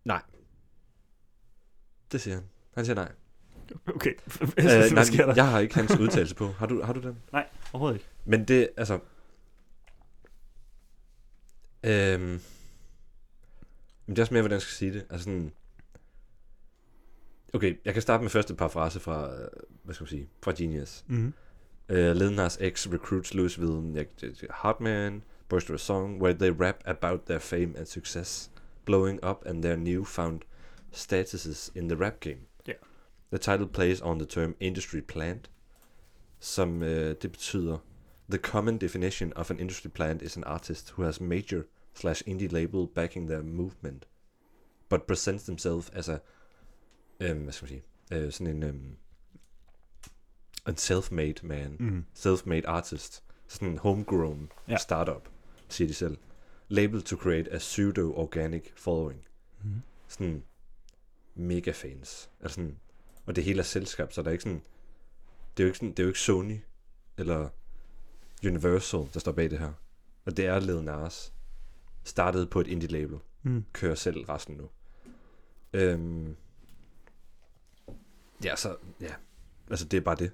Nej. Det siger han. Han siger nej. Okay. Øh, Hvad sker der? Jeg har ikke hans udtalelse på. Har du, har du den? Nej, overhovedet ikke. Men det, altså... Øhm, men det er også mere, hvordan jeg skal sige det. Altså sådan... Okay, jeg kan starte med første par frase fra, øh, hvad skal man sige, fra Genius. Mm-hmm. Uh, Lil Nas X recruits Louisville Nick- Hartman, Buster Song, where they rap about their fame and success, blowing up and their newfound statuses in the rap game. Ja. The title plays on the term industry plant, som uh, det betyder, the common definition of an industry plant is an artist who has major slash indie label backing their movement, but presents øh, themselves as a, um, hvad skal man sige, uh, sådan en, um, øh, en self-made man, mm. Mm. self-made artist, sådan en homegrown Ja. ja. startup, siger de selv. Labeled to create a pseudo-organic following. Mm. Sådan mega fans. Altså sådan, og det hele er selskab, så der er ikke sådan, det er jo ikke, sådan, det er jo ikke Sony eller Universal, der står bag det her. Og det er Lil Nas. Startede på et indie-label Mm. kører selv resten nu. Øhm, ja, så ja. Altså, det er bare det.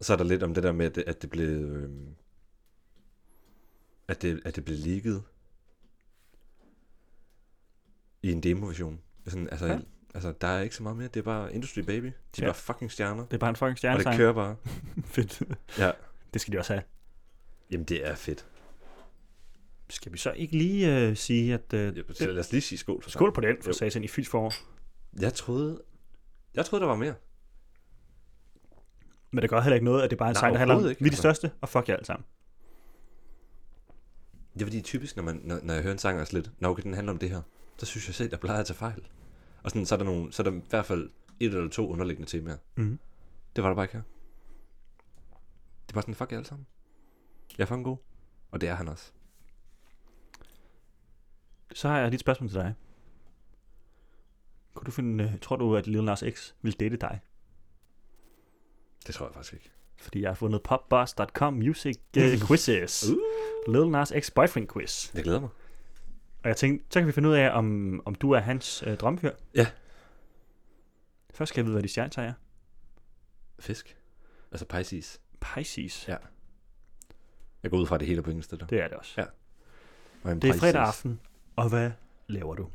Så er der lidt om det der med, at det, at det blev... Øhm, at, det, at det blev leaget i en demoversion. Sådan, altså, Ja. ja. altså, der er ikke så meget mere. Det er bare Industry Baby. De er Ja. bare fucking stjerner. Det er bare en Og fucking det stjernesang. kører bare. Fedt. Ja. Det skal de også have. Jamen, det er fedt. Skal vi så ikke lige øh, sige, at... Øh, Jeg- Lad os lige sige skål. For skål på den, for Jo. satan i fyldt forår. Jeg troede... Jeg troede, der var mere. Men det gør heller ikke noget, at det er bare en Nej, sang, der handler om, overhovedet ikke, vi er de altså. største, og fuck jer alle sammen. Det er fordi typisk, når, man, når, når jeg hører en sang også lidt, når okay, den handler om det her, så synes jeg selv, der plejer at tage fejl. Og sådan, så, er der nogle, så er der i hvert fald et eller to underliggende temaer. Mhm. Det var der bare ikke her. Det er bare sådan, fuck jer alle sammen. Jeg er fucking god. Og det er han også. Så har jeg lige et spørgsmål til dig. Kunne du finde, øh, tror du, at Lil Nas X vil date dig? Det tror jeg faktisk ikke. Fordi jeg har fundet popbars.com music uh, quizzes. Uh. Lil Nas X boyfriend quiz. Jeg glæder mig. Og jeg tænkte, så kan vi finde ud af, om, om du er hans øh, drømfyr. Ja. Først skal jeg vide, hvad de stjernetegn er. Fisk. Altså Pisces. Pisces. Ja. Jeg går ud fra at det hele er på engelsk, det der. Det er det også. Ja. Og en Det er Pisces. fredag aften, og hvad laver du?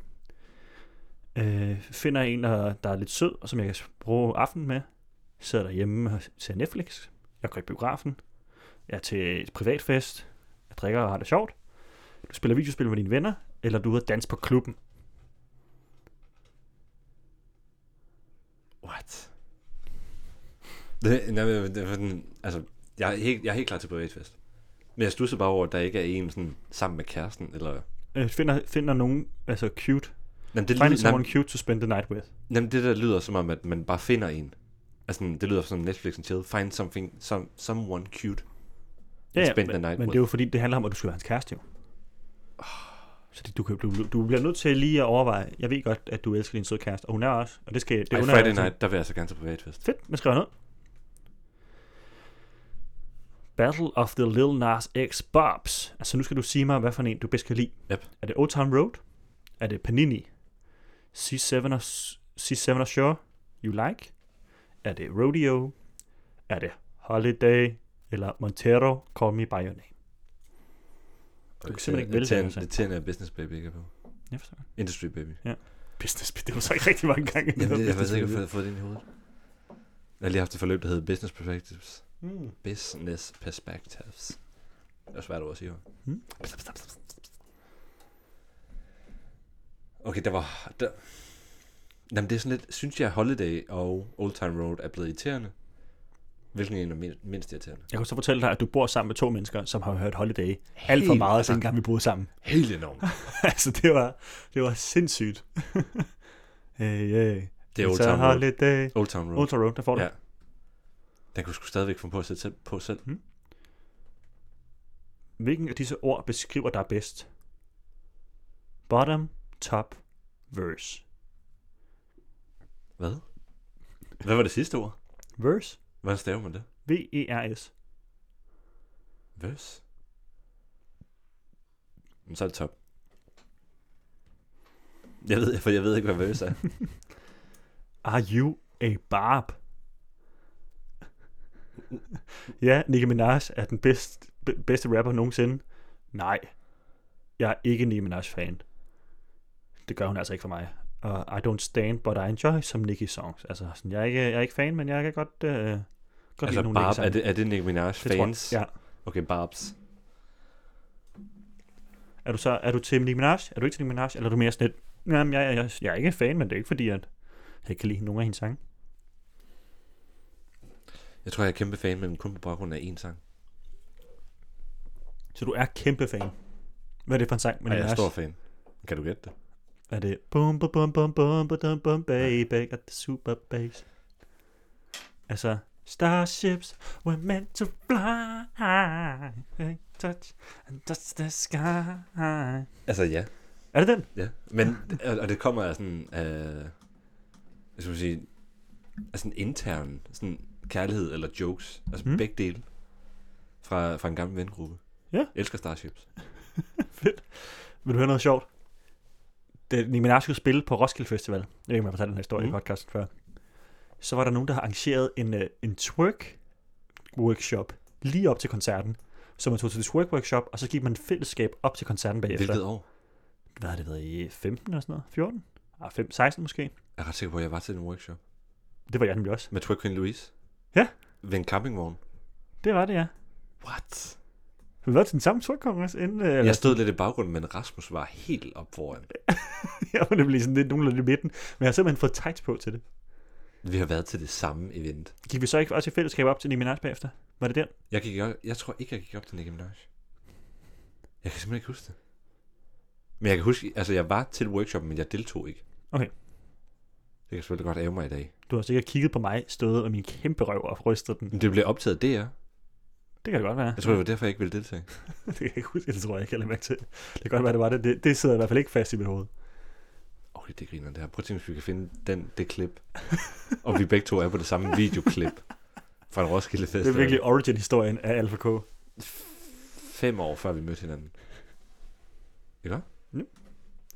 Øh, finder en, der der er lidt sød, og som jeg kan bruge aftenen med. Sidder derhjemme og ser Netflix. Jeg går i biografen. Jeg er til et privatfest. Jeg drikker og har det sjovt. Du spiller videospil med dine venner, eller du er ude at danse på klubben. What? Det, nej, men det, var sådan, altså, jeg er, helt, jeg er helt klar til privatfest. Men jeg stusser bare over, at der ikke er en sådan, sammen med kæresten, eller... Øh, finder, finder nogen, altså cute. Jamen, det, Find lyder, someone jamen, cute to spend the night with. jamen, det der lyder som om, at man bare finder en. Altså, sådan, det lyder som Netflix and chill. Find something, some, someone cute. Ja, ja spend men, the night with. men Ah. det er jo fordi, det handler om, at du skal være hans kæreste jo. Så det, du, kan, du, du bliver nødt til lige at overveje. Jeg ved godt, at du elsker din søde kæreste, og hun er også. Og det skal det Det Ej, under- Friday night, der vil jeg så gerne til privatfest. Fedt, man skriver ned. Battle of the Lil Nas X Bobs. Altså nu skal du sige mig, hvad for en du bedst kan lide. Yep. Er det Old Town Road? Er det Panini? C7 og, C7 og Sure? You Like? Er det Rodeo? Er det Holiday? Eller Montero? Call Me By Your Name. kan simpelthen ikke vælge den her sang. Det tænder jeg business baby ikke er på. Jeg forstår det. Industry baby. Business, det var så ikke rigtig mange gange. Jamen, det, jeg ved Business ikke, Baby. om jeg har fået det ind i hovedet. Jeg har lige haft et forløb, der hedder Business Perspectives. Mm. Business Perspectives. Det er svært ord at sige. hva'? Mm. Okay, der var... Der... Jamen, det er sådan lidt... Synes jeg, Holiday og Old Time Road er blevet irriterende? Hvilken en er min- mindst irriterende? Jeg kan så fortælle dig, at du bor sammen med to mennesker, som har hørt Holiday alt for Helt meget, klart. siden gang vi boede sammen. Helt enormt. altså, det var, det var sindssygt. hey, hey. Det er Old It's a Time Road. holiday. Old Town Road. Old Town Road, der får du. Ja. Den kunne sgu stadigvæk få på at sætte selv- på selv. Hvilken af disse ord beskriver dig bedst? Bottom, top, verse. Hvad? Hvad var det sidste ord? Verse? E Hvordan staver man det? V-E-R-S. Vers? Men så er det top. Jeg ved, for jeg ved ikke, hvad vers er. Are you a barb? ja, Nicki Minaj er den bedst, be- bedste rapper nogensinde. Nej, jeg er ikke Nicki Minaj-fan. Det gør hun altså ikke for mig. Og I don't stand, but I enjoy som Nicki songs. Altså, sådan, jeg, er ikke, jeg er ikke fan, men jeg kan godt, øh, godt lide altså, nogle Barb, Nicki-sange. er det, er det Nicki Minaj Det tror jeg. fans? Ja. Okay, Barbs. Er du så er du til Nicki Minaj? Er du ikke til Nicki Minaj? Eller er du mere sådan lidt, jamen, jeg, jeg, jeg er ikke fan, men det er ikke fordi, at jeg ikke kan lide nogen af hendes sange. Jeg tror, jeg er kæmpe fan, men kun på baggrund af én sang. Så du er kæmpe fan. Hvad er det for en sang? Men jeg er Minaj? stor fan. Kan du gætte det? Er det bum bum bum bum bum bum bum bum baby got the super bass? Altså, Starships were meant to fly. They touch and touch the sky. Altså ja, Er det den? ja. Men, og, og det kommer af sådan, øh, jeg skulle sige, af sådan intern sådan kærlighed eller jokes. Altså Mm. mm. begge dele. Fra, fra en gammel vengruppe. Ja. Elsker Starships. Vil du høre noget sjovt? Da Nicki Minaj skulle spille på Roskilde Festival, jeg ved ikke, om jeg fortalte den her historie mm. i Mm. podcasten før, så var der nogen, der har arrangeret en, øh, en twerk-workshop lige op til koncerten. Så man tog til twerk-workshop, og så gik man fællesskab op til koncerten bagefter. Hvilket år? Hvad har det været i 15 eller sådan noget? 14? Ah, 5, 16 måske? Jeg er ret sikker på, at jeg var til en workshop. Det var jeg nemlig også. Med Twig Queen Louise. Ja. Ved en campingvogn. Det var det, ja. What? Vi var til den samme twerk-kongress inden... Øh, Jeg stod lidt i baggrunden, men Rasmus var helt op foran. Jeg var nemlig sådan lidt nogenlunde i midten, men jeg har simpelthen fået tights på til det. Vi har været til det samme event. Gik vi så ikke også i fællesskab op til Nicki Minaj bagefter? Var det den? Jeg, gik op, jeg tror ikke, jeg gik op til Nicki Minaj. Jeg kan simpelthen ikke huske det. Men jeg kan huske, altså jeg var til workshoppen, men jeg deltog ikke. Okay. Det kan selvfølgelig godt æve mig i dag. Du har sikkert kigget på mig, stået og min kæmpe røv og rystet den. Men det blev optaget der. Det kan det godt være. Jeg tror, det var derfor, jeg ikke ville deltage. det kan jeg ikke huske, det tror jeg ikke, jeg lader mærke til. Det kan godt være, det var det. det. Det sidder i hvert fald ikke fast i mit hoved. Okay, det griner det her. Prøv at tænke, hvis vi kan finde den, det klip. Og vi begge to er på det samme videoklip fra en Roskilde Festival. Det er virkelig origin-historien af Alpha K. fem år, før vi mødte hinanden.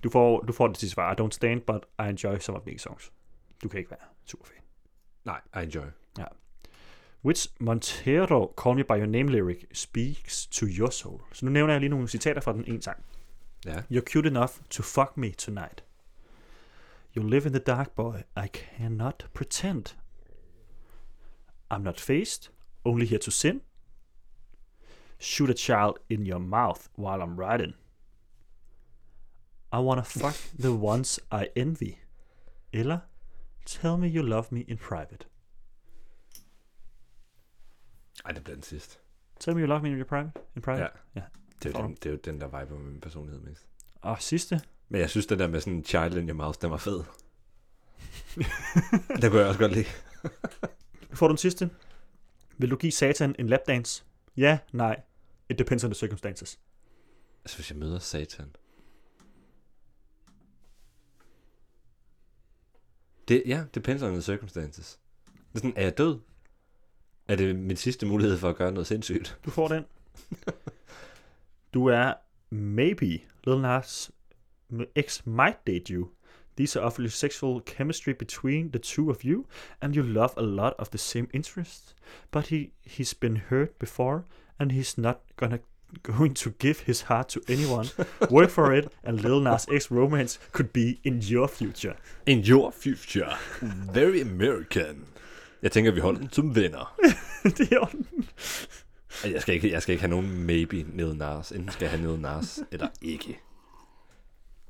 Du får, du får det til svar. Don't stand, but I enjoy some of these songs. Du kan ikke være super fan. Nej, I enjoy. Which Montero Call Me By Your Name lyric speaks to your soul. Så nu nævner jeg lige nogle citater fra den ene sang. Ja. You're cute enough to fuck me tonight. You live in the dark, boy. I cannot pretend. I'm not faced, only here to sin. Shoot a child in your mouth while I'm riding. I wanna fuck the ones I envy. Eller Tell me you love me in private. Ej, det blev den sidste. Tell me you love me in your private. In private. Ja. Ja. Det er, Får jo du? den, det er jo den, der viber med min personlighed mest. Og sidste. Men jeg synes, den der med sådan child in your mouth, den var fed. det kunne jeg også godt lide. Nu får du den sidste. Vil du give satan en lapdance? Ja, nej. It depends on the circumstances. Altså, hvis jeg møder satan. Det, ja, depends on the circumstances. Det er sådan, er jeg død? Er det min sidste mulighed for at gøre noget sindssygt? Du får den. Du er maybe Lil Nas X might date you. These are obviously sexual chemistry between the two of you, and you love a lot of the same interests. But he he's been hurt before, and he's not gonna going to give his heart to anyone. Work for it, and Lil Nas X romance could be in your future. In your future. Very American. Jeg tænker, vi holder den som venner. det er orden. Jeg skal ikke, jeg skal ikke have nogen maybe nede Nars. Enten skal jeg have nede Nars, eller ikke.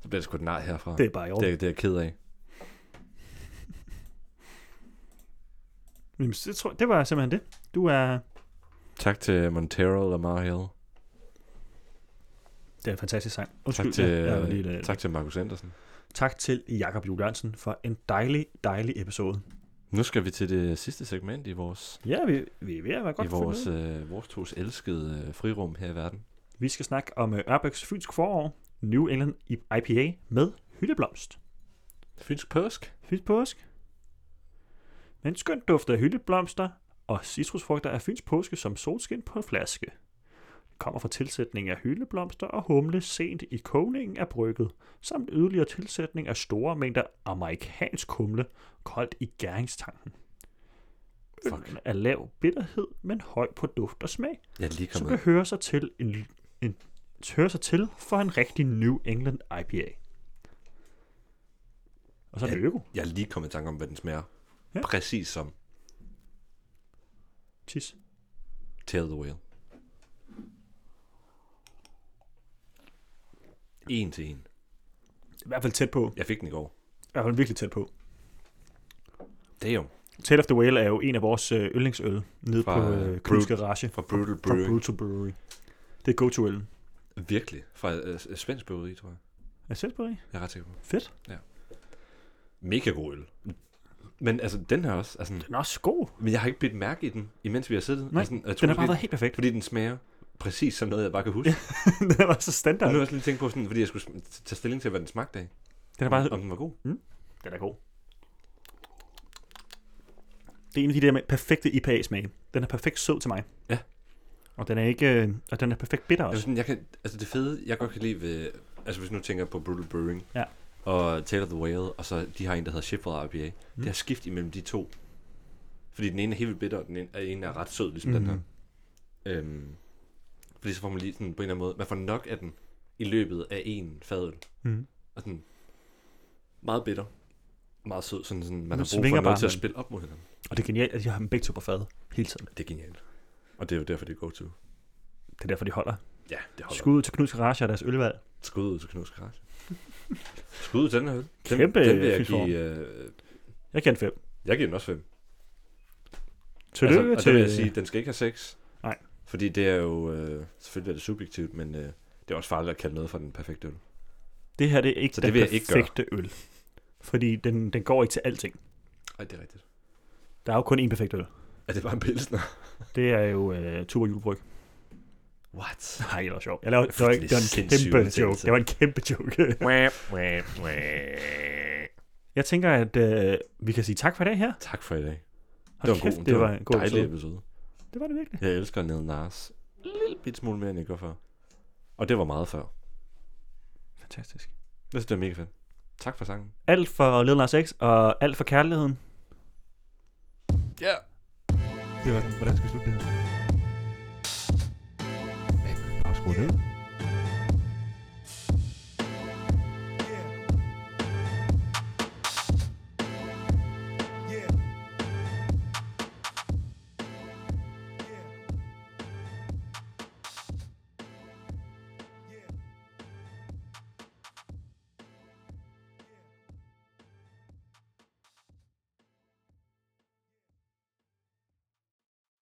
Så bliver det sgu et nej herfra. Det er bare i orden. det, er- det er jeg ked af. Jamen, så tror, det var simpelthen det. Du er... Tak til Montero og Mario. Det er en fantastisk sang. Tak til, ja, jeg var lige, øh, lidt- tak til Markus Andersen. tak til Jakob Juel Jørgensen for en dejlig, dejlig episode. Nu skal vi til det sidste segment i vores, Ja, vi, vi er ved at være godt i vores, fundet. øh, vores tos elskede øh, frirum her i verden. Vi skal snakke om øh, Ørbæks Fynsk Forår, New England IPA med hyldeblomst. Fynsk påsk. Fynsk påsk. Med en skøn duft af hyldeblomster og citrusfrugter er Fyns påske som solskin på en flaske. Det kommer fra tilsætning af hyldeblomster og humle sent i kogningen af brygget, samt yderligere tilsætning af store mængder amerikansk humle, koldt i gæringstanken. Fuck. Øllen er lav bitterhed, men høj på duft og smag, Jeg er lige som kommet. kan høre sig til, en, en, høre sig til for en rigtig New England IPA. Og så er det øko. Jeg er lige kommet i tanke om, hvad den smager. Ja. Ja. Præcis som Tis. Tail of the Whale. En til en. I hvert fald tæt på. Jeg fik den i går. I hvert fald virkelig tæt på. Damn. Tale of the Whale er jo en af vores øh, yndlingsøl nede Fra, på øh, øh, Knuds Brut- Garage Fra Brutal fra Brewing. Brutal Brewery. Det er go-to-øl. Virkelig. Fra øh, s- svensk bryggeri, tror jeg. Er det Jeg er ret sikker på. Fedt. Mega god øl. Men altså, den her også. Altså, Den er også god. men jeg har ikke bidt mærke i den, imens vi har siddet. Mm. Nej, altså, jeg Den tror, har bare fordi, været helt perfekt. fordi den smager præcis som noget, jeg bare kan huske. den er bare så Og standard. nu har jeg også lige tænkt på sådan, fordi jeg skulle sm- t- tage stilling til, hvad den smagte af. Den er bare Om den var god. Den er god. Det er en af de der med perfekte IPA-smage. Den er perfekt sød til mig. Ja. Og den er ikke, øh, og den er perfekt bitter Jeg, også. sådan, jeg kan, altså det fede, jeg godt kan lide ved, altså hvis nu tænker på Brutal Brewing Ja. og Tale of the Whale, og så de har en, der hedder Sheffield IPA, mm. Mm. det er skift imellem de to. Fordi den ene er helt vildt bitter, og den ene er, ene er ret sød, ligesom mm. den her. Mhm. Øhm, fordi så får man lige sådan, på en eller anden måde, man får nok af den i løbet af en fadøl. Mm. Og sådan, meget bitter, meget sød, sådan, sådan man Den har brug svinger for bare, noget til at mand. spille op mod hinanden. Og det er genialt, at de har dem begge to på fad hele tiden. Det er genialt. Og det er jo derfor, det er go-to. Det er derfor, de holder. Ja, det holder. Skud ud til Knuds Garage og deres ølvalg. Skud ud til Knus Garage. Skud ud til den her øl. Den, Kæmpe den vil jeg fifform. give, øh, Jeg giver en fem. jeg giver den også 5. Tillykke Altså, og det til... vil jeg sige, den skal ikke have 6. Nej. Fordi det er jo, øh, selvfølgelig er det subjektivt, men øh, det er også farligt at kalde noget for den perfekte øl. det her det er ikke Så den det vil jeg ikke gøre. perfekte øl. Fordi den, den går ikke til alting. Nej, det er rigtigt. Der er jo kun én perfekt øl. Er det bare en pilsner? Det er jo øh, Tuborg julebryg. What? Nej, det var sjovt. Jeg lavede, det, var, ikke, det var en Fuldstændig kæmpe sindssyg joke. udtalelse. Det var en kæmpe joke. Jeg tænker, at øh, vi kan sige tak for i dag her. tak for i dag. Hold det var en god, kæft, det var en god dejlig episode. episode. Det var det virkelig. Jeg elsker Ned Nars. En lille bit smule mere, end jeg gør før. Og det var meget før. Fantastisk. Jeg synes, det var mega fedt. Tak for sangen. Alt for Little Nas X og alt for kærligheden. Ja. Yeah. Det var den. Hvordan skal vi slutte det her? Bare skru ned.